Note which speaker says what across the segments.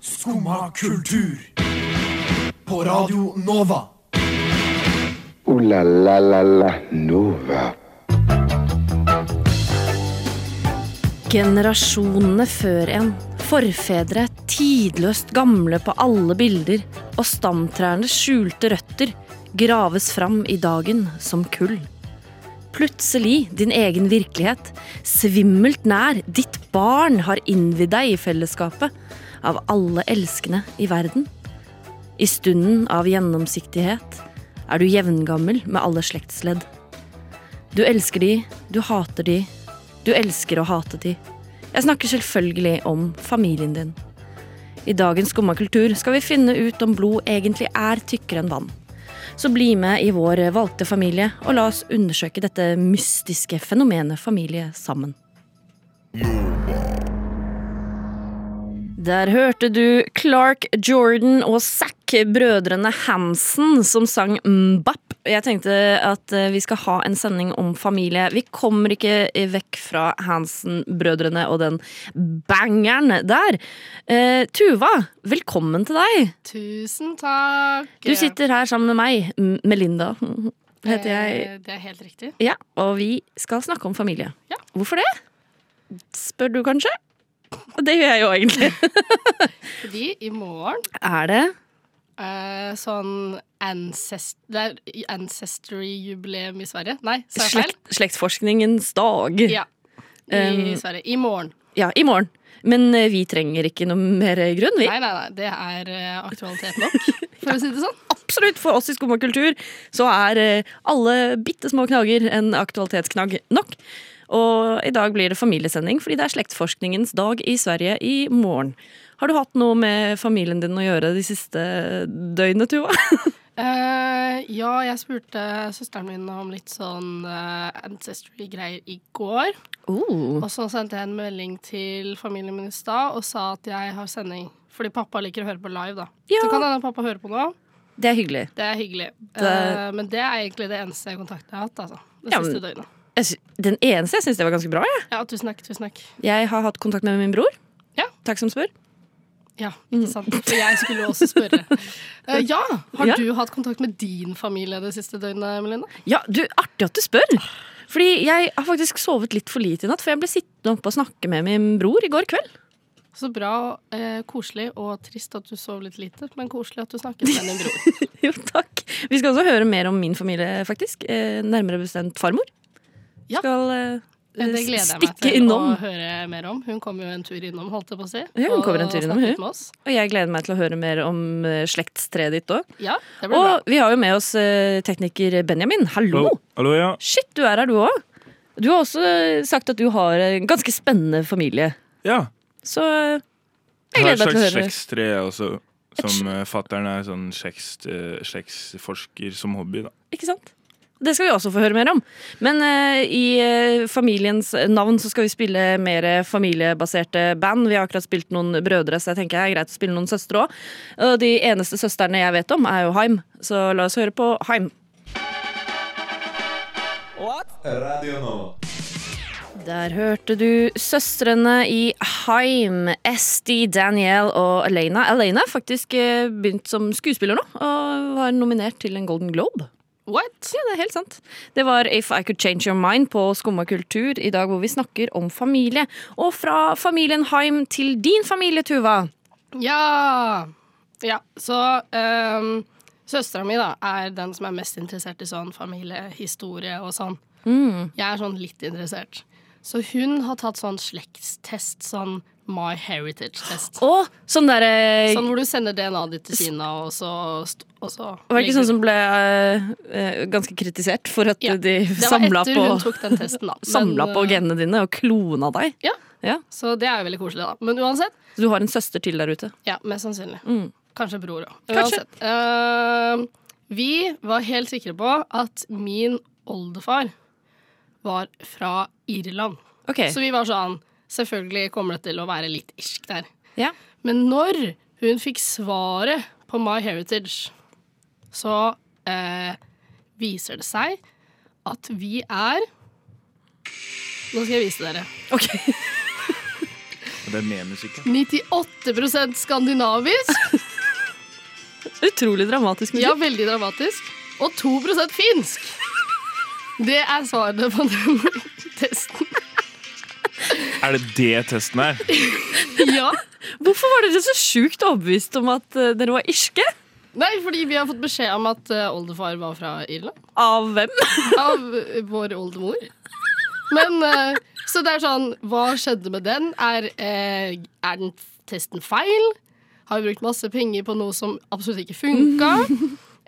Speaker 1: Skumma kultur. På Radio Nova.
Speaker 2: Ooh la la la la Nova.
Speaker 3: Generasjonene før en. Forfedre, tidløst gamle på alle bilder, og stamtrærnes skjulte røtter graves fram i dagen som kull. Plutselig din egen virkelighet, svimmelt nær, ditt barn har innvidd deg i fellesskapet av alle elskende i verden. I stunden av gjennomsiktighet er du jevngammel med alle slektsledd. Du elsker de, du hater de, du elsker å hate de. Jeg snakker selvfølgelig om familien din. I dagens Skumma kultur skal vi finne ut om blod egentlig er tykkere enn vann. Så bli med i vår valgte familie, og la oss undersøke dette mystiske fenomenet familie sammen. Der hørte du Clark Jordan og Zack, brødrene Hansen, som sang Mbap. Jeg tenkte at eh, vi skal ha en sending om familie. Vi kommer ikke vekk fra Hansen-brødrene og den bangeren der. Eh, Tuva, velkommen til deg.
Speaker 4: Tusen takk.
Speaker 3: Du sitter her sammen med meg, M- Melinda heter jeg.
Speaker 4: Eh, Det er helt riktig.
Speaker 3: Ja, og vi skal snakke om familie.
Speaker 4: Ja.
Speaker 3: Hvorfor det? Spør du kanskje? Og det gjør jeg jo egentlig.
Speaker 4: Fordi i morgen
Speaker 3: Er det?
Speaker 4: eh, sånn ancest Det er ancestry-jubileum i Sverige. Nei, sa jeg feil?
Speaker 3: Slekt, slektsforskningens dag.
Speaker 4: Ja. I
Speaker 3: Um,
Speaker 4: Sverige. I morgen.
Speaker 3: Ja, i morgen. Men eh, vi trenger ikke noe mer grunn, vi.
Speaker 4: Nei, nei, nei. Det er eh, aktualitet nok, for å si det sånn.
Speaker 3: Absolutt, for oss i Skum og kultur så er eh, alle bitte små knager en aktualitetsknagg nok. Og i dag blir det familiesending, fordi det er slektsforskningens dag i Sverige i morgen. Har du hatt noe med familien din å gjøre de siste døgnet, Tuva?
Speaker 4: Eh, ja, jeg spurte søsteren min om litt sånn eh, ancestry-greier i går.
Speaker 3: Oh.
Speaker 4: Og så sendte jeg en melding til familien min i stad og sa at jeg har sending. Fordi pappa liker å høre på live, da.
Speaker 3: Ja.
Speaker 4: Så kan hende pappa hører på nå.
Speaker 3: Det er hyggelig.
Speaker 4: Det er hyggelig.
Speaker 3: Det-
Speaker 4: Eh, men det er egentlig det eneste kontakten jeg har hatt. Altså, det
Speaker 3: Ja,
Speaker 4: siste
Speaker 3: men-
Speaker 4: døgnet.
Speaker 3: Jeg sy den eneste jeg syns det var ganske bra. Jeg.
Speaker 4: Ja, tusen takk. Tusen takk.
Speaker 3: jeg har hatt kontakt med min bror.
Speaker 4: Ja.
Speaker 3: Takk som spør.
Speaker 4: Ja,
Speaker 3: Mm.
Speaker 4: ikke sant. For jeg skulle jo også spørre. Eh, ja, har
Speaker 3: Ja.
Speaker 4: du hatt kontakt med din familie det siste døgnet, Melinda?
Speaker 3: Ja, du, artig at du spør. Fordi jeg har faktisk sovet litt for lite i natt. For jeg ble sittende oppe og snakke med min bror i går kveld.
Speaker 4: Så bra, eh, koselig og trist at du sov litt lite, men koselig at du snakket med din bror.
Speaker 3: Jo, takk. Vi skal også høre mer om min familie, faktisk. Eh, nærmere bestemt farmor.
Speaker 4: Ja.
Speaker 3: Skal eh,
Speaker 4: Det gleder jeg meg
Speaker 3: stikke
Speaker 4: til
Speaker 3: innom.
Speaker 4: å høre mer om. Hun kom jo en tur innom, holdt jeg på å si.
Speaker 3: Ja, hun
Speaker 4: og
Speaker 3: kommer en tur innom,
Speaker 4: snakket
Speaker 3: hun.
Speaker 4: Med oss.
Speaker 3: Og jeg gleder meg til å høre mer om eh, slektstreet ditt òg.
Speaker 4: Ja, det blir bra.
Speaker 3: Og vi har jo med oss eh, tekniker Benjamin. Hallo!
Speaker 5: Hallo. Hallo, ja.
Speaker 3: Shit, du er her, du òg. Du har også eh, sagt at du har en ganske spennende familie.
Speaker 5: ja.
Speaker 3: Så eh, jeg
Speaker 5: Jeg har et
Speaker 3: gleder meg til å
Speaker 5: slags
Speaker 3: høre.
Speaker 5: kjekstre også, som uh, fatter'n er sånn kjekst, eh, kjeksforsker som hobby, da.
Speaker 3: Ikke sant? Det skal vi også få høre mer om. Men eh, i eh, familiens navn så skal vi spille mer familiebaserte band. Vi har akkurat spilt noen brødre, så jeg tenker det er greit å spille noen søstre òg. Og de eneste søstrene jeg vet om, er jo Haim, så la oss høre på Haim. Der hørte du søstrene i Haim, Esti, Danielle og Elena. Elena har faktisk eh, begynt som skuespiller nå, og var nominert til en Golden Globe.
Speaker 4: What?
Speaker 3: Ja, det er helt sant. Det var If I Could Change Your Mind på Skumma kultur i dag, hvor vi snakker om familie. Og fra familien Heim til din familie, Tuva.
Speaker 4: Ja. ja. Så um, søstera mi da, er den som er mest interessert i sånn familiehistorie og sånn.
Speaker 3: Mm.
Speaker 4: Jeg er sånn litt interessert. Så hun har tatt sånn slektstest, sånn My Heritage-test.
Speaker 3: Og sånn derre
Speaker 4: Sånn hvor du sender DNA-et ditt til Kina, og så, st- og så
Speaker 3: Var det ikke sånn som ble eh, eh, ganske kritisert for at
Speaker 4: Ja,
Speaker 3: de
Speaker 4: Det var
Speaker 3: samla
Speaker 4: etter
Speaker 3: på,
Speaker 4: hun tok den testen, da.
Speaker 3: samla
Speaker 4: Men,
Speaker 3: på
Speaker 4: eh,
Speaker 3: genene dine og klona deg?
Speaker 4: Ja,
Speaker 3: Ja.
Speaker 4: så det er jo veldig koselig, da. Men uansett,
Speaker 3: Så du har en søster til der ute?
Speaker 4: Ja, mest sannsynlig. Kanskje bror òg.
Speaker 3: Mm. Kanskje.
Speaker 4: Uansett. eh, vi var helt sikre på at min oldefar var fra Irland.
Speaker 3: Ok.
Speaker 4: Så vi var sånn Selvfølgelig kommer det til å være litt irsk der.
Speaker 3: Ja.
Speaker 4: Men når hun fikk svaret på My Heritage, så eh, viser det seg at vi er Nå skal jeg vise dere.
Speaker 3: Ok.
Speaker 5: Og det er med musikk.
Speaker 4: 98 skandinavisk.
Speaker 3: Utrolig dramatisk musikk.
Speaker 4: Ja, veldig dramatisk. Og 2 finsk. Det er svarene på den testen.
Speaker 5: Er det det testen er?
Speaker 4: Ja.
Speaker 3: Hvorfor var dere så sjukt overbevist om at eh, dere var irske?
Speaker 4: Nei, fordi vi har fått beskjed om at eh, oldefar var fra Irland.
Speaker 3: Av hvem?
Speaker 4: Av eh, vår oldemor. Men eh, Så det er sånn Hva skjedde med den? Er, eh, er den testen feil? Har vi brukt masse penger på noe som absolutt ikke funka?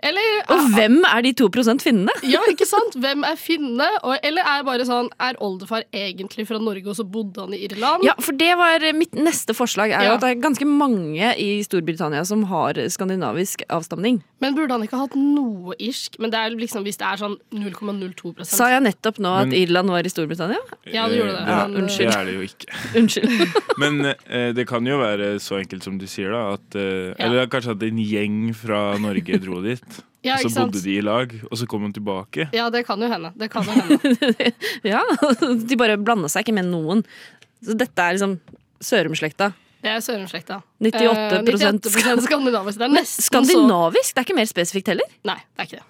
Speaker 4: Eller eh,
Speaker 3: Og hvem er de 2 finnene?
Speaker 4: Ja, ikke sant? Hvem er finne? Og, eller er bare sånn Er oldefar egentlig fra Norge, og så bodde han i Irland?
Speaker 3: Ja, for det var mitt neste forslag. er jo
Speaker 4: Ja.
Speaker 3: at Det er ganske mange i Storbritannia som har skandinavisk avstamning.
Speaker 4: Men burde han ikke ha hatt noe irsk? Men det er liksom hvis det er sånn 0,02
Speaker 3: Sa jeg nettopp nå at
Speaker 5: Men-
Speaker 3: Irland var i Storbritannia?
Speaker 4: Ja, du gjorde det.
Speaker 5: Eh,
Speaker 4: Men,
Speaker 5: det,
Speaker 4: unnskyld.
Speaker 5: det er det jo ikke.
Speaker 3: Unnskyld.
Speaker 5: Men eh, det kan jo være så enkelt som du sier, da. At,
Speaker 4: Ja.
Speaker 5: eh, Eller kanskje at en gjeng fra Norge dro dit.
Speaker 4: Ja,
Speaker 5: og
Speaker 4: ikke
Speaker 5: så
Speaker 4: sant?
Speaker 5: bodde de i lag, og så kom hun tilbake.
Speaker 4: eh, Ja, det kan jo hende. Det kan jo hende.
Speaker 3: Ja, De bare blanda seg ikke med noen. Så dette er liksom Sørum-slekta.
Speaker 4: Det er Sørenslekta. Eh,
Speaker 3: 98%
Speaker 4: 98 skandinavisk. Det er nesten så
Speaker 3: Skandinavisk? Det er ikke mer spesifikt heller.
Speaker 4: Nei, det er ikke det.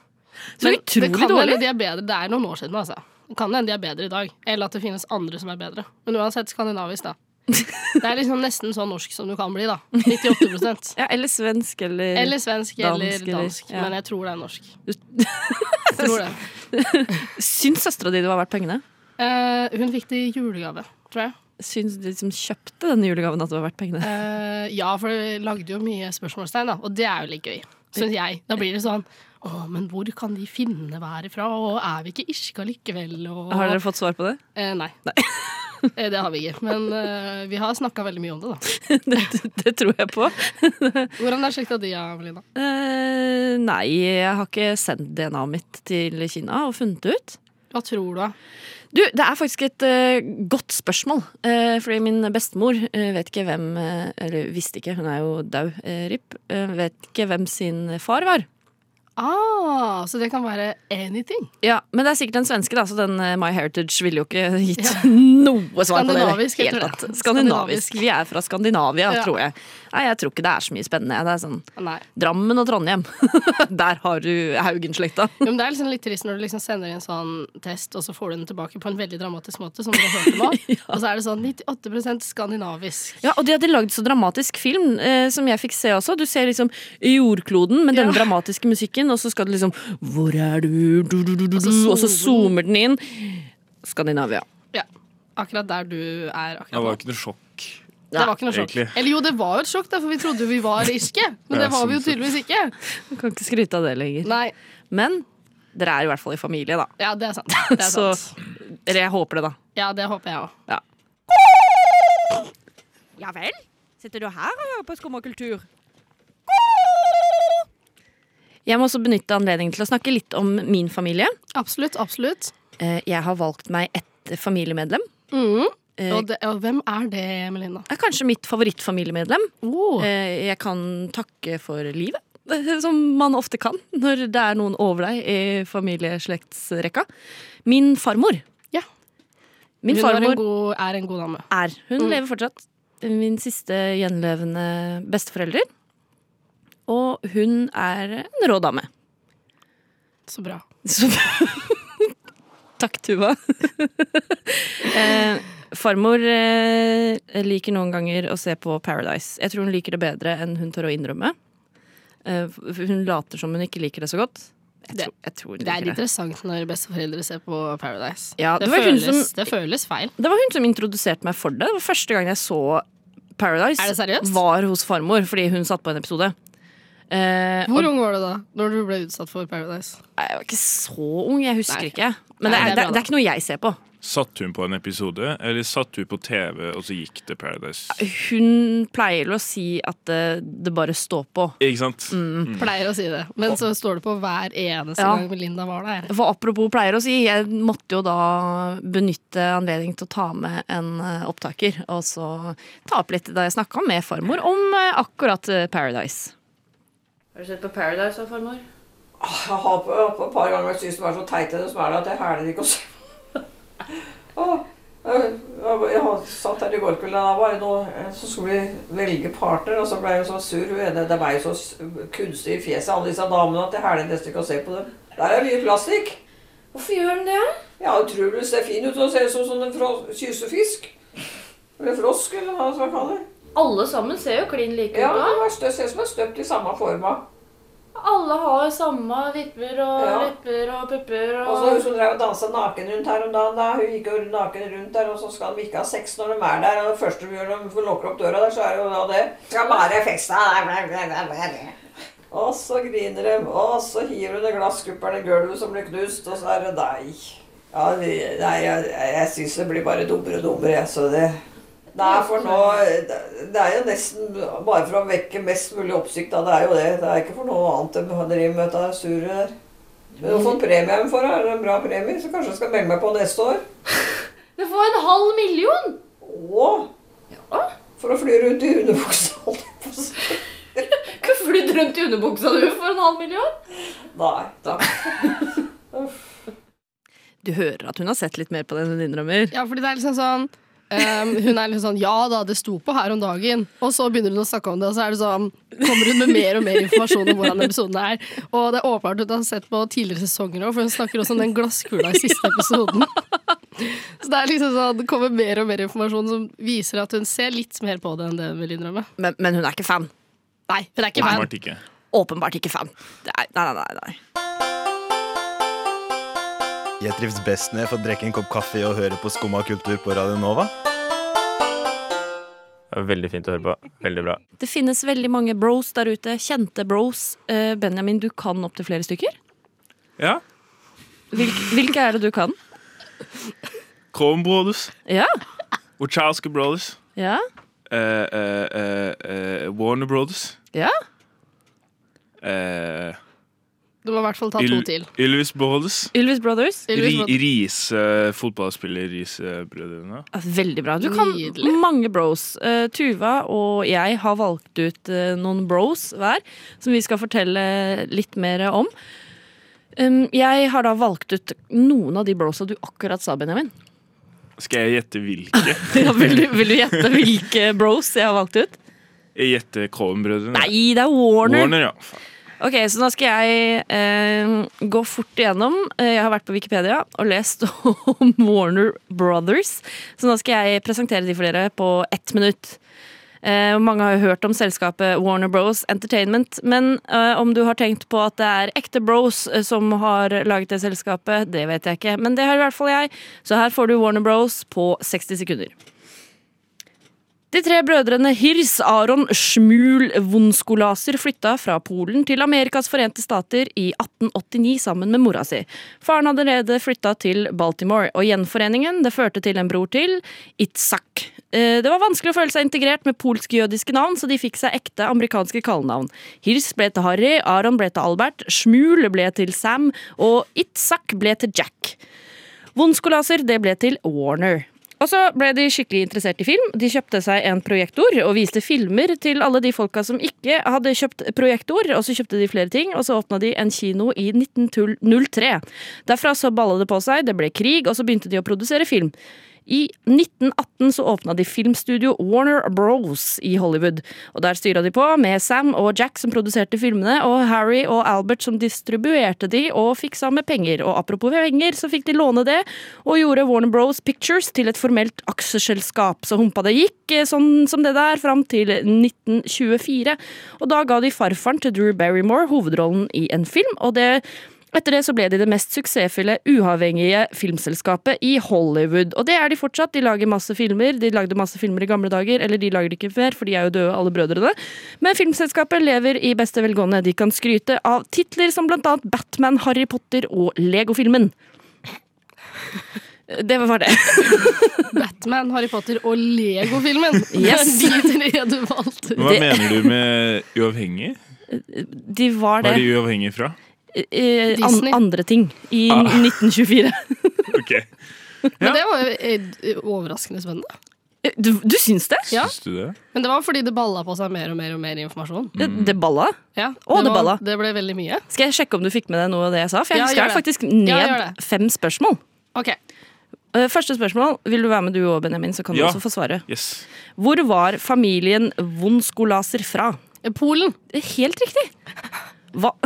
Speaker 3: Så utrolig
Speaker 4: det kan
Speaker 3: dårlig.
Speaker 4: hende de er bedre. Det er noen år siden, altså. Det kan hende de er bedre i dag. Eller at det finnes andre som er bedre. Men uansett skandinavisk, da. Det er liksom nesten så norsk som du kan bli, da. 98
Speaker 3: Ja, Eller svensk, eller,
Speaker 4: Eller svensk
Speaker 3: Dansk,
Speaker 4: eller
Speaker 3: eller-
Speaker 4: dansk.
Speaker 3: ja.
Speaker 4: Men jeg tror det er norsk. Jeg tror det.
Speaker 3: Syns søstera di det var verdt pengene?
Speaker 4: Eh, hun fikk det i julegave, tror jeg.
Speaker 3: Syns de som kjøpte denne julegaven at det var verdt pengene?
Speaker 4: Eh, ja, for det lagde jo mye spørsmålstegn, da. Og det er jo litt gøy, syns jeg. Da blir det sånn Å, men hvor kan de finne være fra? Og er vi ikke irske allikevel? Og...
Speaker 3: Har dere fått svar på det?
Speaker 4: Eh, nei. Eh, det har vi ikke. Men eh, vi har snakka veldig mye om det, da.
Speaker 3: det? Det tror jeg på.
Speaker 4: Hvordan er slekta di, Melina?
Speaker 3: Eh, nei, jeg har ikke sendt DNA-et mitt til Kina og funnet det ut.
Speaker 4: Hva tror du, da?
Speaker 3: Du, det er faktisk et eh, godt spørsmål. eh, fordi min bestemor eh, vet ikke hvem eh, Eller visste ikke, hun er jo dau, eh, RIP. eh, vet ikke hvem sin far var.
Speaker 4: Ah, så det kan være anything.
Speaker 3: Ja, Men det er sikkert en svenske, da, så den eh, My Heritage ville jo ikke gitt noe svar på det. i det
Speaker 4: Skandinavisk, jeg
Speaker 3: hele
Speaker 4: tror det.
Speaker 3: tatt.
Speaker 4: Skandinavisk.
Speaker 3: Skandinavisk. Vi er fra Skandinavia,
Speaker 4: Ja.
Speaker 3: tror jeg. Nei, jeg tror ikke det er så mye spennende. Det er sånn
Speaker 4: Nei.
Speaker 3: Drammen og Trondheim. Der har du Haugen-slekta.
Speaker 4: Jo, men det er liksom litt trist når du liksom sender inn sånn test, og så får du den tilbake på en veldig dramatisk måte, som du har hørt nå. Og så er det sånn 98 skandinavisk.
Speaker 3: Ja, og de hadde lagd så dramatisk film eh, som jeg fikk se også. Du ser liksom jordkloden med denne dramatiske musikken, og så skal det liksom Hvor er du? du, du, du, du,
Speaker 4: så
Speaker 3: du. Og så
Speaker 4: zoomer
Speaker 3: zoomer den inn. Skandinavia.
Speaker 4: Ja. Akkurat der du er akkurat
Speaker 5: Det
Speaker 4: nå.
Speaker 5: var ikke noe sjokk.
Speaker 4: Det var ikke noe sjokk.
Speaker 5: egentlig.
Speaker 4: Eller jo, det var jo et sjokk, da, for vi trodde vi var irske. Men det
Speaker 5: Ja,
Speaker 4: var vi jo
Speaker 5: sånn sett.
Speaker 4: tydeligvis ikke.
Speaker 3: Man kan ikke skryte av det lenger.
Speaker 4: Nei.
Speaker 3: Men dere er i hvert fall i familie, da.
Speaker 4: Ja, det er sant. Det er
Speaker 3: Så
Speaker 4: sant.
Speaker 3: Eller jeg håper det, da.
Speaker 4: Ja, det håper jeg òg.
Speaker 3: Ja.
Speaker 6: Ja vel? Sitter du her og hører på skummakultur?
Speaker 3: Jeg må også benytte anledningen til å snakke litt om min familie.
Speaker 4: Absolutt. absolutt.
Speaker 3: Eh, Jeg har valgt meg ett familiemedlem. Eh,
Speaker 4: Og, det, og hvem er det, Melina?
Speaker 3: er kanskje mitt favorittfamiliemedlem.
Speaker 4: Oh.
Speaker 3: Eh, Jeg kan takke for livet, eh, som man ofte kan når det er noen over deg i familieslektsrekka. Min farmor.
Speaker 4: Ja.
Speaker 3: Min
Speaker 4: Hun er en,
Speaker 3: farmor
Speaker 4: god, Mm. er en god dame.
Speaker 3: er Hun lever fortsatt. Min siste gjenlevende besteforelder. Og hun er en rå dame.
Speaker 4: Så bra.
Speaker 3: Så Takk, Tuva. eh, farmor eh, liker noen ganger å se på Paradise. Jeg tror hun liker det bedre enn hun tør å innrømme. Eh, f- hun later som hun ikke liker det så godt. Jeg,
Speaker 4: Det-
Speaker 3: tror- jeg tror hun
Speaker 4: Det er
Speaker 3: liker det.
Speaker 4: interessant når besteforeldre ser på Paradise.
Speaker 3: Ja,
Speaker 4: det,
Speaker 3: det var hun
Speaker 4: føles,
Speaker 3: som-
Speaker 4: det føles feil.
Speaker 3: Det var hun som introduserte meg for det. Det var første gang jeg så Paradise,
Speaker 4: Er det seriøst?
Speaker 3: var hos farmor, fordi hun satt på en episode. Eh,
Speaker 4: Hvor ung var du da når du ble utsatt for Paradise?
Speaker 3: Nei, jeg var ikke så ung, jeg husker
Speaker 4: Nei.
Speaker 3: ikke. Men
Speaker 4: Nei,
Speaker 3: det, er, det,
Speaker 4: det er bra,
Speaker 3: er, det er ikke noe jeg ser på.
Speaker 5: Satt hun på en episode, eller satt hun på TV, og så gikk det Paradise?
Speaker 3: Hun pleier å si at eh, det bare står på.
Speaker 5: Ikke sant?
Speaker 4: Pleier å si det. Men så står det på hver eneste
Speaker 3: Ja.
Speaker 4: gang Melinda var der.
Speaker 3: For apropos pleier å si, jeg måtte jo da benytte anledningen til å ta med en eh, opptaker. Og så ta opp litt da jeg snakka med farmor om eh, akkurat eh, Paradise. Har du sett på Paradise da, farmor?
Speaker 7: Jeg har på, på et par ganger vært syk som er så teit i det som er det at jeg hæler ikke å se på. Åh, Jeg, jeg, jeg satt her i går kveld, da var det noe som skulle vi velge partner, og så ble hun så sur. Hun ene, det var jo så s- kunstig i fjeset, alle disse damene, at jeg hæler nesten ikke å se på dem. Der er mye plastikk.
Speaker 8: Hvorfor gjør den det?
Speaker 7: Ja, hun tror hun ser fin ut og ser ut som sånn en fro- kyssefisk. Eller frosk, eller hva skal jeg kalle det.
Speaker 8: Alle sammen ser jo klin like
Speaker 7: Ja,
Speaker 8: ut da.
Speaker 7: det var stø- ser ut som er støpt i samme forma.
Speaker 8: Alle har samme vipper og
Speaker 7: Ja. Altså-
Speaker 8: lepper og pupper og
Speaker 7: Og så hun som drev og dansa naken rundt her om dagen, da. Hun gikk jo naken rundt der, og så skal de ikke ha sex når de er der. Og det første de gjør når de lukker opp døra der, så er det jo da det. Skal bare feste. Og så griner de, og så hiver hun det glasskuppelen i gulvet som blir knust, og så er det deg. Ja, det- nei, jeg, jeg syns det blir bare dummere og dummere, jeg, så det Nei, for nå Det det er jo nesten bare for å vekke mest mulig oppsikt, da. Det er jo det. Det er ikke for noe annet de driver med, dette surret der. Men du har fått premien for det. Er det en bra premie? Så kanskje jeg skal melde meg på neste år?
Speaker 8: Du får en halv million!
Speaker 7: Å! For å fly rundt i underbuksa. holdt jeg på å si.
Speaker 8: Ikke flydd rundt i underbuksa du for en halv million?
Speaker 7: Nei, takk.
Speaker 3: Du hører at hun har sett litt mer på den hun innrømmer.
Speaker 4: Ja, fordi det er liksom sånn ehm, Hun er liksom sånn Ja da, det sto på her om dagen. Og så begynner hun å snakke om det, og så er det sånn kommer hun med mer og mer informasjon om hvordan episoden er. Og det er åpenbart hun har sett på tidligere sesonger òg, for hun snakker også om den glasskula i siste episoden. Så det er liksom sånn Det kommer mer og mer informasjon som viser at hun ser litt mer på det enn det hun vil innrømme.
Speaker 3: Men, men hun er ikke fan.
Speaker 4: Nei, hun er ikke fan.
Speaker 5: Åpenbart ikke.
Speaker 3: Åpenbart ikke fan. Det er, nei, nei, nei, nei.
Speaker 9: Jeg trives best når jeg får drikke en kopp kaffe og høre på Skumma kultur på Radio Nova.
Speaker 10: Det er Veldig fint å høre på. Veldig bra.
Speaker 3: Det finnes veldig mange bros der ute. Kjente bros. Eh, Benjamin, du kan opptil flere stykker.
Speaker 5: Ja.
Speaker 3: Hvilke, hvilke er det du kan?
Speaker 5: Coen Brothers.
Speaker 3: Ja.
Speaker 5: Wachowski Brothers.
Speaker 3: Ja.
Speaker 5: eh, eh, eh, eh, Warner Brothers.
Speaker 3: Ja.
Speaker 5: eh,
Speaker 4: Du må i hvert fall ta to
Speaker 5: Yl-
Speaker 4: til.
Speaker 5: Ylvis Brothers. eh,
Speaker 3: Ylvis Brothers.
Speaker 4: Ylvis Brothers.
Speaker 5: Riis-fotballspiller, Riis-brødrene.
Speaker 3: Ja, Veldig bra. Du kan
Speaker 4: Nydelig.
Speaker 3: mange bros. Eh, Tuva og jeg har valgt ut eh, noen bros hver, som vi skal fortelle litt mer om. Um, jeg har da valgt ut noen av de brosa du akkurat sa, Benjamin.
Speaker 5: Skal jeg gjette hvilke?
Speaker 3: Ja, vil, du, vil du gjette hvilke bros jeg har valgt ut?
Speaker 5: Jeg gjetter Coen-brødrene.
Speaker 3: Nei, det er Warner.
Speaker 5: Warner, ja. Faen.
Speaker 3: Ok, så nå skal jeg eh, gå fort igjennom. Eh, Jeg har vært på Wikipedia og lest om Warner Brothers. Så nå skal jeg presentere de for dere på ett minutt. Eh, mange har jo hørt om selskapet Warner Bros Entertainment. Men eh, om du har tenkt på at det er ekte bros eh, som har laget det selskapet, det vet jeg ikke. Men det har i hvert fall jeg. Så her får du Warner Bros på 60 sekunder. De tre brødrene Hirs, Aron, Shmul, Vonskolaser flytta fra Polen til Amerikas forente stater i 1889 sammen med mora si. Faren hadde allerede flytta til Baltimore, og gjenforeningen det førte til en bror til, Itzak. Eh, Det var vanskelig å føle seg integrert med polsk-jødiske navn, så de fikk seg ekte amerikanske kallenavn. Hirs ble til Harry, Aron ble til Albert, Shmul ble til Sam, og Itzak ble til Jack. Vonskolaser det ble til Warner. Og så ble de skikkelig interessert i film. De kjøpte seg en projektor og viste filmer til alle de folka som ikke hadde kjøpt projektor. Og så kjøpte de flere ting, og så åpna de en kino i 1903. Derfra så balla det på seg, det ble krig, og så begynte de å produsere film. I 1918 så åpna de filmstudio Warner Bros i Hollywood. Og der styra de på med Sam og Jack som produserte filmene, og Harry og Albert som distribuerte de og fiksa med penger. Og apropos penger, så fikk de låne det, og gjorde Warner Bros Pictures til et formelt aksjeselskap. Så humpa det gikk eh, sånn som det der fram til 1924. Og da ga de farfaren til Drew Barrymore hovedrollen i en film, og det etter det så ble de det mest suksessfulle uavhengige filmselskapet i Hollywood. Og det er de fortsatt. De lager masse filmer. De lagde masse filmer i gamle dager, eller de lager det ikke mer, for de er jo døde, alle brødrene. Men filmselskapet lever i beste velgående. De kan skryte av titler som blant annet Batman, Harry Potter og Lego-filmen. Det var det.
Speaker 4: Batman, Harry Potter og Lego-filmen.
Speaker 3: Yes.
Speaker 4: Det er de tre du valgte.
Speaker 5: Men Hva
Speaker 3: Det-
Speaker 5: mener du med uavhengig?
Speaker 3: De var det.
Speaker 5: Hva er de uavhengige fra?
Speaker 3: Eh, an
Speaker 4: Disney.
Speaker 3: andre ting. I 1924.
Speaker 5: Ok,
Speaker 4: Men det var jo eh, overraskende spennende.
Speaker 3: Du, du syns det?
Speaker 4: Ja.
Speaker 5: Syns du det?
Speaker 4: Men det var fordi det balla på seg mer og mer og mer informasjon.
Speaker 3: Det, det balla.
Speaker 4: Ja,
Speaker 3: Å, det
Speaker 4: var-
Speaker 3: balla.
Speaker 4: Det ble veldig mye.
Speaker 3: Skal jeg sjekke om du fikk med deg noe av det jeg sa? For jeg
Speaker 4: Ja,
Speaker 3: skrev
Speaker 4: gjør det.
Speaker 3: faktisk ned
Speaker 4: Ja, gjør det.
Speaker 3: fem spørsmål.
Speaker 4: Ok,
Speaker 3: Eh, Første spørsmål. Vil du være med du og Benjamin, så kan du
Speaker 5: Ja.
Speaker 3: også få svare.
Speaker 5: Yes.
Speaker 3: Hvor var familien Vonskolaser fra? Eh,
Speaker 4: Polen.
Speaker 3: Helt riktig. Hva,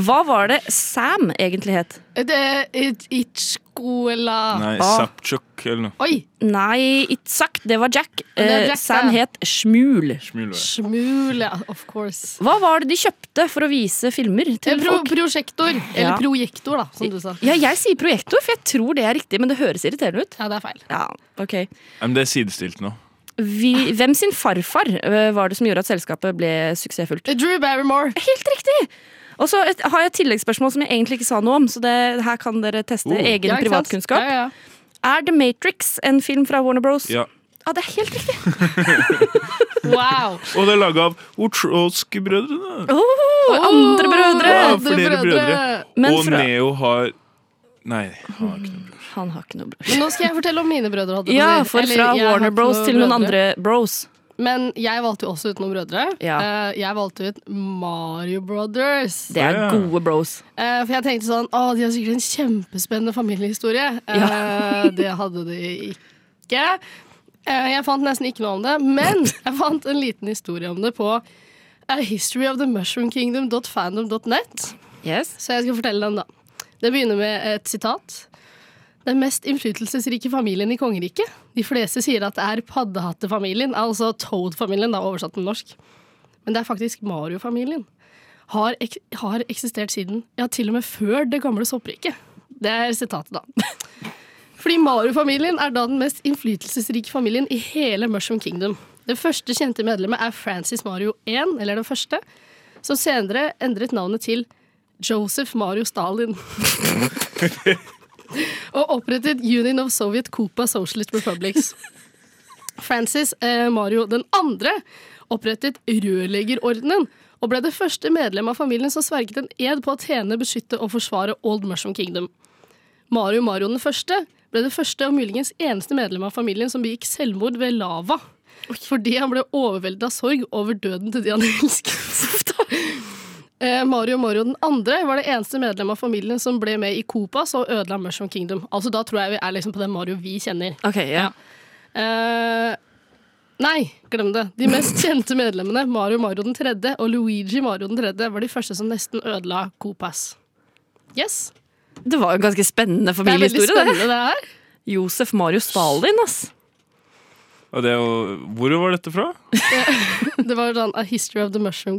Speaker 3: Hva var det Sam egentlig het?
Speaker 4: Det er Itchkola
Speaker 5: Nei,
Speaker 3: Ah.
Speaker 5: Sapchuk eller noe.
Speaker 4: Oi!
Speaker 3: Nei, Itzak, det var Jack.
Speaker 4: Det var
Speaker 3: Eh,
Speaker 4: Jack,
Speaker 3: Sam
Speaker 4: ja.
Speaker 3: het Smul.
Speaker 5: Smul, hva er det?
Speaker 4: Smul, ja. Of course.
Speaker 3: Hva var det de kjøpte for å vise filmer til
Speaker 4: Eh, Pro
Speaker 3: folk?
Speaker 4: prosjektor. Eller
Speaker 3: Ja.
Speaker 4: projektor, da, som du sa.
Speaker 3: Ja, jeg sier projektor, for jeg tror det er riktig, men det høres irriterende ut.
Speaker 4: Ja, det er feil.
Speaker 3: Ja, ok.
Speaker 5: Nei, Men det er sidestilt nå.
Speaker 3: Vi, hvem sin farfar eh, var det som gjorde at selskapet ble suksessfullt?
Speaker 4: Eh, Drew Barrymore.
Speaker 3: Helt riktig! Og så et- har jeg et tilleggsspørsmål som jeg egentlig ikke sa noe om, så det, her kan dere teste
Speaker 5: Oh.
Speaker 3: egen
Speaker 4: Ja, ikke sant?
Speaker 3: privatkunnskap.
Speaker 4: Ja, ja.
Speaker 3: Er The Matrix en film fra Warner Bros?
Speaker 5: Ja.
Speaker 3: Ja, det er helt riktig!
Speaker 4: Wow.
Speaker 5: Og det er laga av Otrolsk-brødrene.
Speaker 3: Oh, andre brødre!
Speaker 5: Ja,
Speaker 4: Andre
Speaker 5: flere brødre.
Speaker 3: Men
Speaker 5: Og
Speaker 3: fra-
Speaker 5: Neo har Nei, han har ikke noe brødre.
Speaker 3: Han har ikke noe brødre.
Speaker 4: Men nå skal jeg fortelle om mine brødre. holdt jeg på å
Speaker 3: Ja,
Speaker 4: si.
Speaker 3: for
Speaker 4: Eller,
Speaker 3: fra
Speaker 4: jeg har
Speaker 3: Warner
Speaker 4: ikke
Speaker 3: Bros
Speaker 4: noen
Speaker 3: til noen
Speaker 4: brødre.
Speaker 3: andre bros.
Speaker 4: Men jeg valgte jo også ut noen brødre.
Speaker 3: Ja.
Speaker 4: Eh, Jeg valgte ut Mario Brothers.
Speaker 3: Det er
Speaker 5: Ja.
Speaker 3: gode bros.
Speaker 4: Eh, For jeg tenkte sånn Å, de har sikkert en kjempespennende familiehistorie. Eh, Det hadde de ikke. Eh, Jeg fant nesten ikke noe om det, men jeg fant en liten historie om det på eh, historyofthemushroomkingdom.fandom.net.
Speaker 3: Yes.
Speaker 4: Så jeg skal fortelle den, da. Det begynner med et sitat. Den mest innflytelsesrike familien i kongeriket. De fleste sier at det er paddehattefamilien, altså Toad-familien, da oversatt til norsk. Men det er faktisk Mario-familien. Har, ek har eksistert siden, ja, til og med før det gamle soppriket. Det er sitatet, da. Fordi Mario-familien er da den mest innflytelsesrike familien i hele Mushroom Kingdom. Det første kjente medlemmet er Francis Mario 1, eller den første, som senere endret navnet til Joseph Mario Stalin. og opprettet Union of Soviet Copa Socialist Republics. Francis eh, Mario den andre opprettet rørleggerordenen og ble det første medlem av familien som sverget en ed på å tjene, beskytte og forsvare Old Mushroom Kingdom. Mario Mario den første ble det første og muligens eneste medlem av familien som begikk selvmord ved lava. Fordi han ble overveldet av sorg over døden til de han elsket. Eh, Mario Mario den andre var det eneste medlem av familien som ble med i Copas og ødela Mushroom Kingdom. Altså Da tror jeg vi er liksom på den Mario vi kjenner.
Speaker 3: Ok, ja.
Speaker 4: Eh, nei, glem det. De mest kjente medlemmene, Mario Mario den tredje og Luigi Mario den tredje, var de første som nesten ødela Copas. Yes.
Speaker 3: Det var jo en ganske spennende
Speaker 4: Det er veldig
Speaker 3: familiehistorie. Det
Speaker 4: spennende, det her.
Speaker 3: Josef Mario Stalin, ass.
Speaker 5: Og det er jo Hvor var dette fra?
Speaker 4: Det var sånn A History of the Mushroom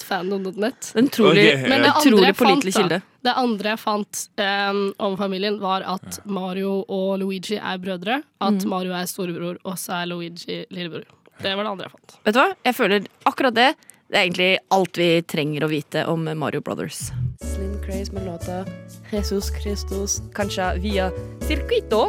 Speaker 4: Kingdom.fandom.net.
Speaker 3: En utrolig,
Speaker 5: Ok, ja.
Speaker 4: Men det andre
Speaker 3: utrolig
Speaker 4: jeg fant,
Speaker 3: pålitelig
Speaker 4: da,
Speaker 3: kilde.
Speaker 4: Det andre jeg fant em, om familien, var at Mario og Luigi er brødre. At
Speaker 3: Mm.
Speaker 4: Mario er storebror, og så er Luigi lillebror. Det var det andre jeg fant.
Speaker 3: Vet du hva? Jeg føler akkurat det. Det er egentlig alt vi trenger å vite om Mario Brothers. Slim Craze med låta Jesus Christus Kanskje via Circuito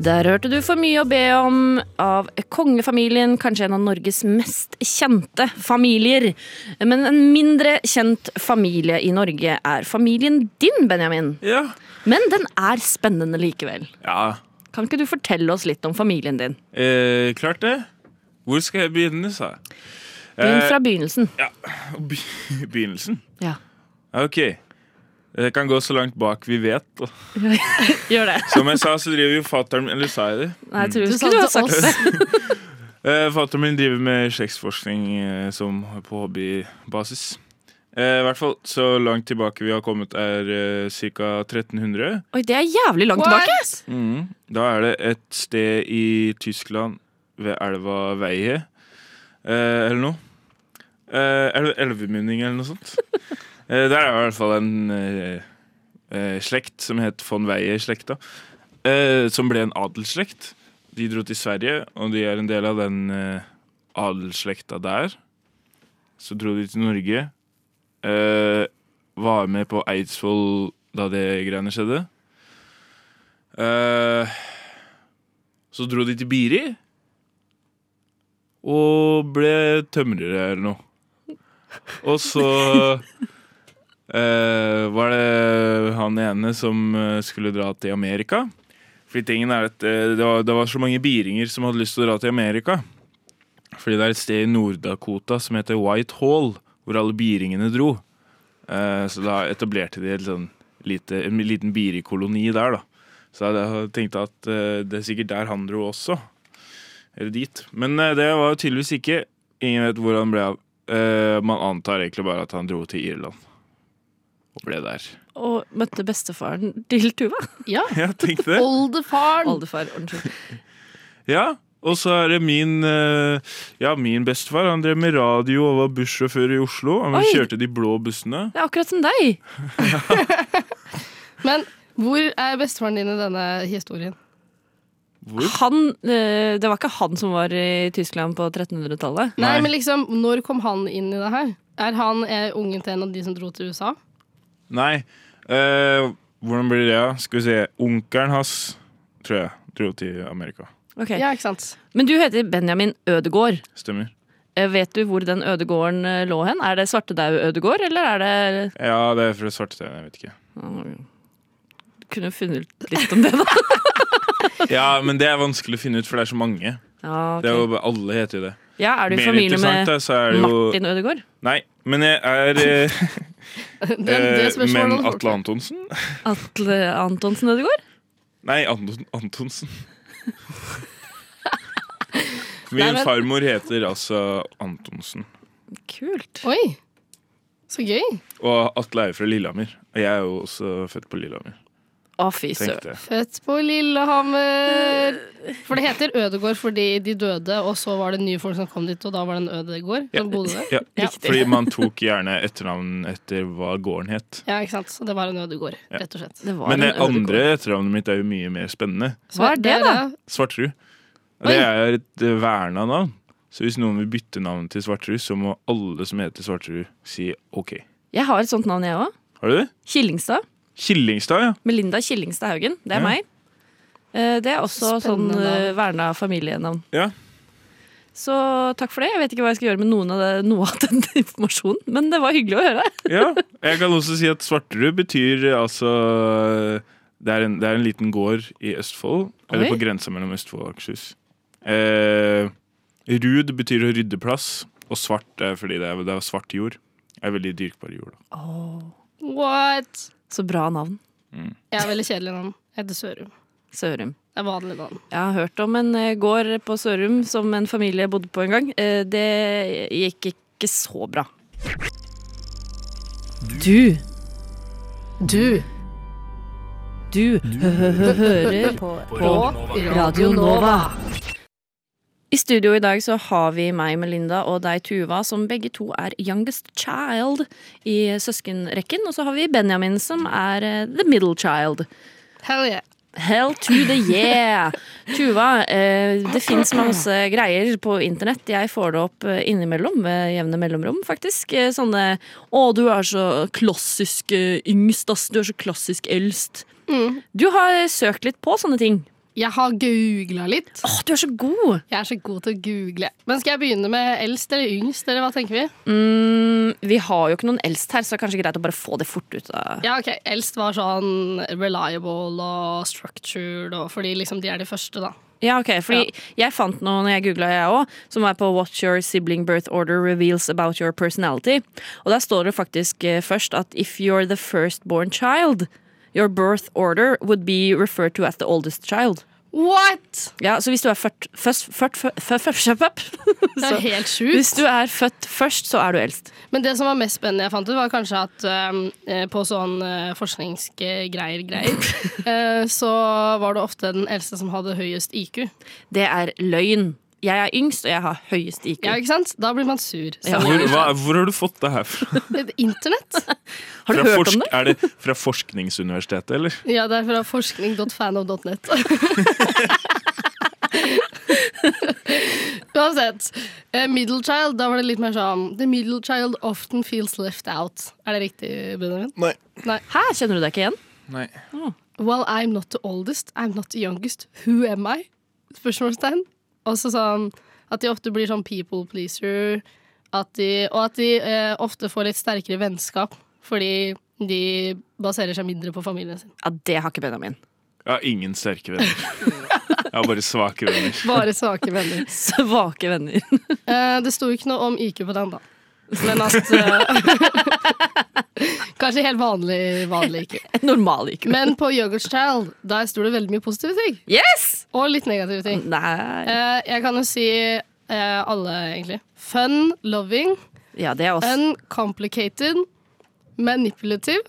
Speaker 3: Der hørte du for mye å be om av kongefamilien, kanskje en av Norges mest kjente familier. Men en mindre kjent familie i Norge er familien din, Benjamin.
Speaker 5: Ja.
Speaker 3: Men den er spennende likevel.
Speaker 5: ja.
Speaker 3: Kan ikke du fortelle oss litt om familien din?
Speaker 5: Eh, klart det. Hvor skal jeg begynne, sa jeg.
Speaker 3: Begynn fra begynnelsen.
Speaker 5: Eh, be- begynnelsen?
Speaker 3: Ja.
Speaker 5: Ja, OK. Jeg kan gå så langt bak vi vet. da.
Speaker 3: Gjør det.
Speaker 5: Som jeg sa, så driver jo fatter'n min Eller sa jeg det?
Speaker 3: Nei, jeg tror
Speaker 4: Du
Speaker 3: du
Speaker 4: sa
Speaker 3: skulle ha
Speaker 4: det til
Speaker 3: sagt det.
Speaker 4: oss.
Speaker 5: Eh, Fatter'n min driver med slektsforskning eh, som på hobbybasis. Eh, I hvert fall så langt tilbake vi har kommet, er eh, ca. 1300.
Speaker 3: Oi, det er jævlig langt tilbake.
Speaker 5: Mhm. Da er det et sted i Tyskland ved elva Veie eh, eller noe. Eh, el elvemunning eller noe sånt. eh, der er det i hvert fall en eh, eh, slekt som het von Weie-slekta, eh, som ble en adelsslekt. De dro til Sverige, og de er en del av den eh, adelsslekta der. Så dro de til Norge. Eh, var med på Eidsvoll da det greiene skjedde. Eh, så dro de til Biri og ble tømrere eller noe. Og så eh, var det han ene som eh, skulle dra til Amerika. Fordi tingen er at eh, det, var, det var så mange biringer som hadde lyst til å dra til Amerika. Fordi det er et sted i Nord-Dakota som heter White Hall, hvor alle biringene dro. Eh, så da etablerte de et sånn lite, en liten birikoloni der, da. Så jeg tenkte at eh, det er sikkert der han dro også. Eller dit. Men eh, det var tydeligvis ikke. Ingen vet hvor han ble av. Eh, man antar egentlig bare at han dro til Irland. Og ble der.
Speaker 3: Og møtte bestefaren til Tuva.
Speaker 4: Ja.
Speaker 5: Ja, tenk det.
Speaker 4: Oldefaren.
Speaker 3: Oldefar, unnskyld.
Speaker 5: Ja, og så er det min eh, Ja, min bestefar. Han drev med radio og var bussjåfør i Oslo. Han
Speaker 4: Oi.
Speaker 5: kjørte de blå bussene.
Speaker 3: Det er akkurat som deg.
Speaker 4: Men hvor er bestefaren din i denne historien?
Speaker 3: Han, eh, det var ikke han som var i Tyskland på 1300-tallet.
Speaker 4: Nei, men liksom, når kom han inn i det her? Er han eh, ungen til en av de som dro til USA?
Speaker 5: Nei. eh, hvordan blir det, da? Skal vi se. Onkelen hans, tror jeg, dro til Amerika.
Speaker 4: Ja, ikke sant?
Speaker 3: Men du heter Benjamin Ødegård.
Speaker 5: Stemmer.
Speaker 3: Eh, Vet du hvor den ødegården eh, lå hen? Er det Svartedau-Ødegård, eller er det
Speaker 5: Ja, det er fra Svartestein. Jeg vet ikke.
Speaker 3: Du kunne funnet ut litt om det, da.
Speaker 5: Ja, men det er vanskelig å finne ut, for det er så mange.
Speaker 3: Ja, ok.
Speaker 5: Det er jo, alle heter jo det.
Speaker 3: Ja, er du i
Speaker 5: Mer
Speaker 3: familie
Speaker 5: interessant,
Speaker 3: med
Speaker 5: da, så er det jo-
Speaker 3: Martin Ødegaard?
Speaker 5: Nei, men jeg er eh,
Speaker 4: Den- det
Speaker 5: eh,
Speaker 4: spørsmålet
Speaker 5: Men
Speaker 4: hadde fort-
Speaker 5: Atle Antonsen?
Speaker 3: Atle Antonsen Ødegaard?
Speaker 5: Nei, Anton, Antonsen.
Speaker 4: Nei,
Speaker 5: Min
Speaker 4: men-
Speaker 5: farmor heter altså Antonsen.
Speaker 3: Kult.
Speaker 4: Oi, så gøy.
Speaker 5: Og Atle er jo fra Lillehammer. Og jeg er jo også født på Lillehammer.
Speaker 3: Å, fy
Speaker 5: Tenk
Speaker 3: søren.
Speaker 5: det.
Speaker 4: Født på
Speaker 3: Eh,
Speaker 4: Lillehammer. For det heter Ødegård fordi de døde, og så var det nye folk som kom dit, og da var det en Ødegård som bodde der.
Speaker 5: Ja, fordi man tok gjerne etternavn etter hva gården het.
Speaker 4: Ja, ikke sant. Så det var en Ødegård,
Speaker 5: Ja.
Speaker 4: rett og slett.
Speaker 5: Men det andre etternavnet mitt er jo mye mer spennende.
Speaker 4: Hva er det, da?
Speaker 5: Svartrud. Og Det er et eh, verna navn. Så hvis noen vil bytte navn til Svartrud, så må alle som heter Svartrud, si OK.
Speaker 3: Jeg har et sånt navn, jeg òg.
Speaker 5: Har du det?
Speaker 3: Killingstad.
Speaker 5: Killingstad, ja.
Speaker 3: Melinda Killingstad Haugen. Det er
Speaker 5: Ja.
Speaker 3: meg. Eh, Det er også
Speaker 4: Spennende
Speaker 3: sånn eh, verna familienavn.
Speaker 5: Ja.
Speaker 3: Så takk for det. Jeg vet ikke hva jeg skal gjøre med noen av det, noe av den informasjonen, men det var hyggelig å høre.
Speaker 5: Ja, Jeg kan også si at Svarterud betyr eh, altså det er, en, det er en liten gård i Østfold,
Speaker 3: Oi.
Speaker 5: eller på grensa mellom Østfold og Akershus. Eh, rud betyr å rydde plass, og svart er fordi det er, det er svart jord. Det er veldig dyrkbar jord. Da.
Speaker 4: What?
Speaker 3: Så bra navn.
Speaker 5: Mm.
Speaker 4: Jeg er veldig kjedelig navn. Jeg heter Sørum.
Speaker 3: Sørum.
Speaker 4: Det er vanlig navn.
Speaker 3: Jeg har hørt om en eh, gård på Sørum som en familie bodde på en gang. Eh, Det gikk ikke så bra. Du.
Speaker 4: Du.
Speaker 3: Du hører på Radio Nova. I studio i dag så har vi meg, Melinda, og deg, Tuva, som begge to er youngest child i søskenrekken. Og så har vi Benjamin, som er eh, the middle child.
Speaker 4: Hell yeah.
Speaker 3: Hell to the yeah! Tuva, eh, det fins masse greier på internett. Jeg får det opp eh, innimellom, ved jevne mellomrom, faktisk. Eh, Sånne 'Å, du er så klassisk eh, yngst, ass. Du er så klassisk eldst'.
Speaker 4: Mm.
Speaker 3: Du har søkt litt på sånne ting.
Speaker 4: Jeg har googla litt.
Speaker 3: Åh, Du er så god!
Speaker 4: Jeg er så god til å google. Men skal jeg begynne med eldst eller yngst, eller hva tenker vi?
Speaker 3: Mm, vi har jo ikke noen eldst her, så det er kanskje greit å bare få det fort ut av
Speaker 4: Ja, ok, Eldst var sånn reliable og structured, og fordi liksom de er de første, da.
Speaker 3: Ja, ok, fordi jeg fant noe når jeg googlet jeg også, som er på What your sibling birth order reveals about your personality. Og der står det faktisk eh, først at if you're the firstborn child, your birth order would be referred to as the oldest child.
Speaker 4: What?!
Speaker 3: Ja, så hvis du er ført, først, ført, ført, ført, ført, ført, ført,
Speaker 4: Det er
Speaker 3: så-
Speaker 4: helt sjukt.
Speaker 3: Hvis du er født først, så er du eldst.
Speaker 4: Men det som var mest spennende jeg fant ut, var kanskje at øhm, eh, på sånn eh, forskningsgreier greier, eh, så var det ofte den eldste som hadde høyest IQ.
Speaker 3: Det er løgn. Jeg er yngst, og jeg har høyest IQ.
Speaker 4: Ja, ikke sant? Da blir man sur. Så
Speaker 5: Hvor, hva, hvor har du fått det her fra?
Speaker 4: det- Internett?
Speaker 5: Fra forsk- Er det fra Forskningsuniversitetet, eller?
Speaker 4: Ja, det er fra forskning.fanof.net. Uansett. eh, Middle child, da var det litt mer sånn The middle child often feels left out. Er det riktig, Benjamin?
Speaker 5: Nei.
Speaker 3: Hæ, kjenner du deg ikke igjen?
Speaker 5: Nei.
Speaker 4: Well, I'm not the oldest, I'm not the youngest. Who am I? Spørsmålstegn. Og så sånn at de ofte blir sånn people pleaser. At de, og at de eh, ofte får litt sterkere vennskap fordi de baserer seg mindre på familien sin.
Speaker 3: Ja, det har ikke Benjamin.
Speaker 5: Jeg har ingen sterke venner. Jeg har bare svake venner.
Speaker 4: Bare svake venner.
Speaker 3: Svake venner.
Speaker 4: Eh, det sto ikke noe om IQ på den, da. Men at eh, Kanskje helt vanlig, vanlig IQ.
Speaker 3: Normal IQ.
Speaker 4: Men på Yoghurtchild der sto det veldig mye positive ting.
Speaker 3: Yes!
Speaker 4: Og litt negative ting. Eh, jeg kan jo si eh, alle, egentlig. Fun, loving,
Speaker 3: Ja, det er oss.
Speaker 4: uncomplicated, manipulative,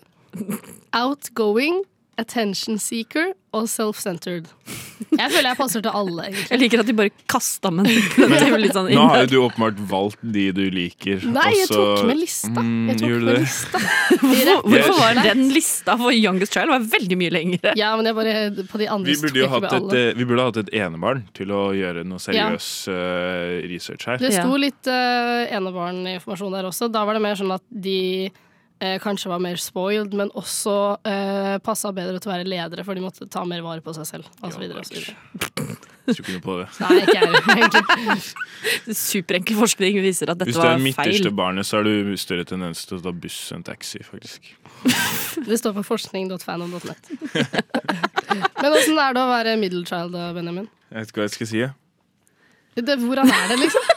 Speaker 4: outgoing, attention seeker og self-centered. Jeg føler jeg passer til alle, egentlig.
Speaker 3: Jeg liker at de bare kasta meg ned. Det er jo litt sånn
Speaker 5: Nå har jo du åpenbart valgt de du liker.
Speaker 4: Nei, jeg
Speaker 5: og så-
Speaker 4: tok med lista.
Speaker 5: Mm,
Speaker 4: Jeg tok
Speaker 5: gjorde du
Speaker 4: med
Speaker 5: det?
Speaker 4: lista.
Speaker 3: Hvorfor,
Speaker 5: Yes.
Speaker 3: hvorfor var den lista for Youngest Child var veldig mye lengre?
Speaker 4: Ja, men jeg bare på de andre
Speaker 5: Vi
Speaker 4: så
Speaker 5: burde
Speaker 4: tok jeg
Speaker 5: jo
Speaker 4: ikke med
Speaker 5: hatt et,
Speaker 4: alle.
Speaker 5: eh, vi burde hatt et enebarn til å gjøre noe seriøs eh, research her.
Speaker 4: Det sto litt uh, enebarninformasjon der også. Da var det mer sånn at de eh, kanskje var mer spoiled, men også uh, passa bedre til å være ledere, for de måtte ta mer vare på seg selv, og så videre og så videre.
Speaker 5: Jeg tror ikke noe på det.
Speaker 4: Nei, ikke jeg heller, egentlig.
Speaker 3: Superenkel forskning viser at dette
Speaker 5: Hvis du er
Speaker 3: var
Speaker 5: det midterste
Speaker 3: feil.
Speaker 5: barnet, så er du større tendens til å ta buss enn taxi, faktisk.
Speaker 4: Det står på forskning.fanom.net. Men åssen er det å være middle child, da, Benjamin?
Speaker 5: Jeg vet ikke hva jeg skal si. jeg.
Speaker 4: Det, hvordan er det, liksom?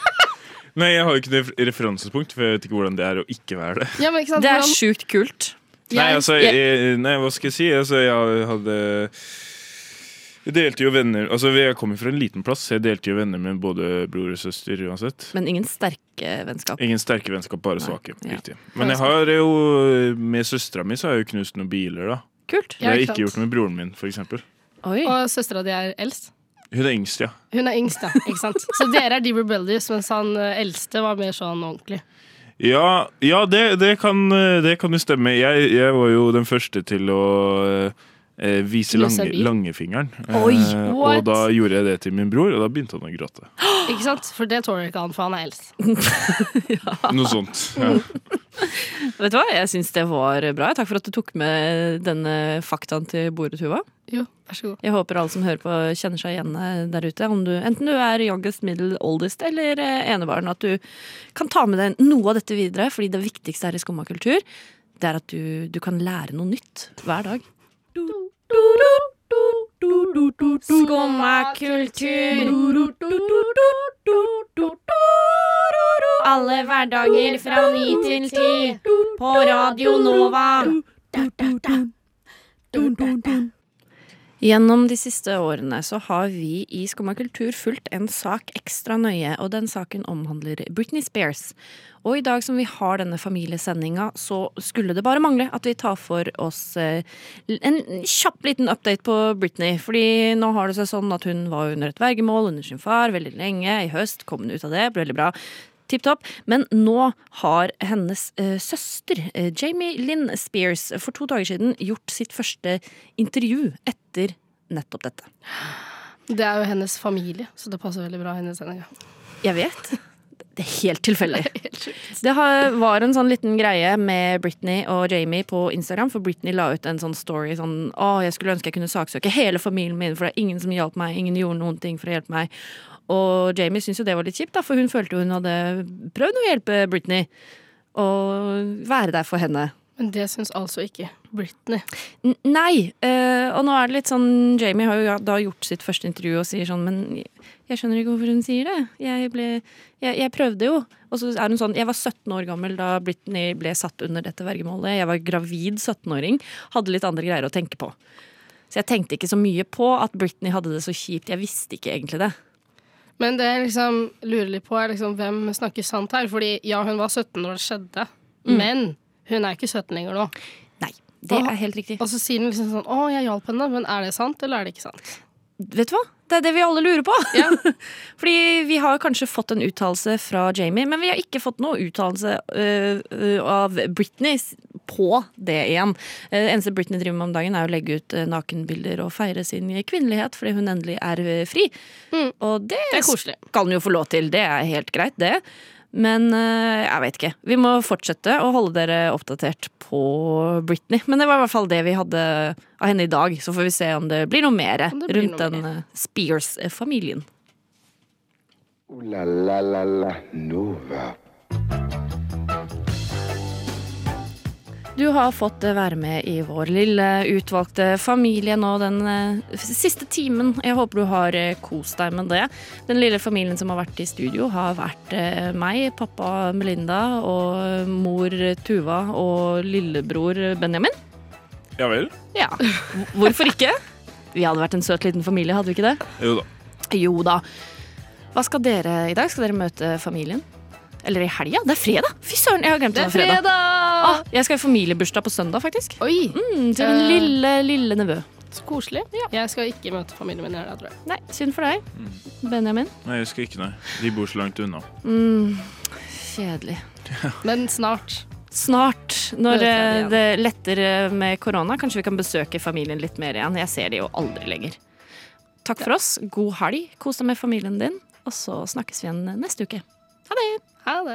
Speaker 5: Nei, jeg har jo ikke noe ref- referansepunkt, for jeg vet ikke hvordan det er å ikke være det.
Speaker 4: Ja, men ikke sant?
Speaker 3: Det er
Speaker 4: Hvordan-
Speaker 3: sjukt kult.
Speaker 5: Nei, altså,
Speaker 3: jeg-
Speaker 5: jeg, nei, hva skal jeg si? Altså, jeg hadde Jeg delte jo venner Altså, Jeg kommer fra en liten plass, så jeg delte jo venner med både bror og søster uansett.
Speaker 3: Men ingen sterke vennskap.
Speaker 5: Ingen sterke vennskap, bare svake.
Speaker 3: ja.
Speaker 5: Riktig. Men jeg har jo med søstera mi så har jeg jo knust noen biler, da.
Speaker 3: Kult.
Speaker 5: Det har jeg ikke gjort med broren min, for eksempel.
Speaker 4: Og søstera di er eldst?
Speaker 5: Hun er yngst, ja.
Speaker 4: Hun er yngst, ja. Ikke sant? Så dere er de rebellious, mens han eh, eldste var mer sånn ordentlig.
Speaker 5: Ja, ja det, det, kan, det kan jo stemme. Jeg, jeg var jo den første til å eh, vise
Speaker 4: Vise
Speaker 5: lange,
Speaker 4: bil.
Speaker 5: langefingeren.
Speaker 4: Oi, what?
Speaker 5: og da gjorde jeg det til min bror, og da begynte han å gråte.
Speaker 4: Ikke sant? For det tåler ikke han, for han er eldst.
Speaker 5: Noe sånt. Ja.
Speaker 3: Vet du hva, jeg syns det var bra. Takk for at du tok med denne faktaen til bordet, Tuva.
Speaker 4: Jo, vær så god.
Speaker 3: Jeg håper alle som hører på, kjenner seg igjen eh, der ute. Om du, enten du er youngest, middle, oldest eller eh, enebarn. At du kan ta med deg noe av dette videre, fordi det viktigste her i Skumma kultur, det er at du, du kan lære noe nytt hver dag.
Speaker 8: Skumma kultur. Alle hverdager fra ni til ti. På Radio Nova.
Speaker 3: Gjennom de siste årene så har vi i Skumma kultur fulgt en sak ekstra nøye, og den saken omhandler Britney Spears. Og i dag som vi har denne familiesendinga, så skulle det bare mangle at vi tar for oss eh, en kjapp liten update på Britney. Fordi nå har det seg sånn at hun var under et vergemål under sin far veldig lenge. I høst kom hun ut av det, ble veldig bra. Tipp topp. Men nå har hennes eh, søster, eh, Jamie Lynn Spears, for to dager siden gjort sitt første intervju etter nettopp dette.
Speaker 4: Det er jo hennes familie, så det passer veldig bra hennes sending.
Speaker 3: Jeg vet. Det er helt tilfeldig. Det har, var en sånn liten greie med Britney og Jamie på Instagram, for Britney la ut en sånn story sånn Å, jeg skulle ønske jeg kunne saksøke hele familien min, for det er ingen som hjalp meg, ingen gjorde noen ting for å hjelpe meg. Og Jamie syntes jo det var litt kjipt, da, for hun følte jo hun hadde prøvd å hjelpe Britney. Og være der for henne.
Speaker 4: Men det syns altså ikke Britney.
Speaker 3: N- Nei. eh, og nå er det litt sånn Jamie har jo ja- da gjort sitt første intervju og sier sånn Men jeg skjønner ikke hvorfor hun sier det. Jeg, ble, jeg, jeg prøvde jo. Og så er hun sånn Jeg var 17 år gammel da Britney ble satt under dette vergemålet. Jeg var gravid 17-åring. Hadde litt andre greier å tenke på. Så jeg tenkte ikke så mye på at Britney hadde det så kjipt. Jeg visste ikke egentlig det.
Speaker 4: Men det jeg liksom lurer litt på, er liksom hvem snakker sant her? Fordi ja, hun var 17 når det skjedde,
Speaker 3: Mm.
Speaker 4: men hun er ikke 17 lenger nå.
Speaker 3: Nei, det er helt riktig.
Speaker 4: Og så sier hun liksom sånn Å, jeg hjalp henne, men er det sant, eller er det ikke sant?
Speaker 3: Vet du hva? Det er det vi alle lurer på. Fordi vi har kanskje fått en uttalelse fra Jamie, men vi har ikke fått noen uttalelse øh, øh, av Britney s- på det igjen. Eh, Det eneste Britney driver med om dagen, er å legge ut øh, nakenbilder og feire sin kvinnelighet fordi hun endelig er øh, fri. Og det,
Speaker 4: Mm. Det er koselig.
Speaker 3: skal hun jo få lov til. Det er helt greit, det. Men øh, jeg veit ikke. Vi må fortsette å holde dere oppdatert på Britney. Men det var i hvert fall det vi hadde av henne i dag. Så får vi se om det blir noe mer
Speaker 2: Om det blir
Speaker 3: rundt
Speaker 2: noe
Speaker 3: den øh, Spears-familien.
Speaker 2: Ooh la la la la Nova.
Speaker 3: Du har fått eh, være med i vår lille utvalgte familie nå den eh, siste timen. Jeg håper du har eh, kost deg med det. Den lille familien som har vært i studio, har vært eh, meg, pappa Melinda og eh, mor Tuva og lillebror Benjamin.
Speaker 5: Ja vel?
Speaker 3: Ja. Hvorfor ikke? Vi hadde vært en søt liten familie, hadde vi ikke det?
Speaker 5: Jo da.
Speaker 3: Jo da. Hva skal dere i dag? Skal dere møte familien? Eller i helga? Det er fredag! Fy søren, jeg har glemt
Speaker 4: Det
Speaker 3: det
Speaker 4: er
Speaker 3: var fredag.
Speaker 4: fredag!
Speaker 3: Ah, jeg skal i familiebursdag på søndag, faktisk.
Speaker 4: Oi!
Speaker 3: Mm, til min
Speaker 4: Eh.
Speaker 3: lille, lille nevø.
Speaker 4: Så koselig. Jeg skal ikke møte familien min i helga, tror jeg.
Speaker 3: Nei, synd for deg, Benjamin.
Speaker 5: Nei, jeg skal ikke, nei. De bor så langt unna.
Speaker 3: Mm, kjedelig.
Speaker 4: Men snart.
Speaker 3: Snart, når
Speaker 4: Møter
Speaker 3: eh,
Speaker 4: jeg det igjen.
Speaker 3: det letter eh, med korona, kanskje vi kan besøke familien litt mer igjen. Jeg ser de jo aldri lenger. Takk for oss. God helg. Kos deg med familien din. Og så snakkes vi igjen eh, neste uke. Ha det!
Speaker 4: Ha det!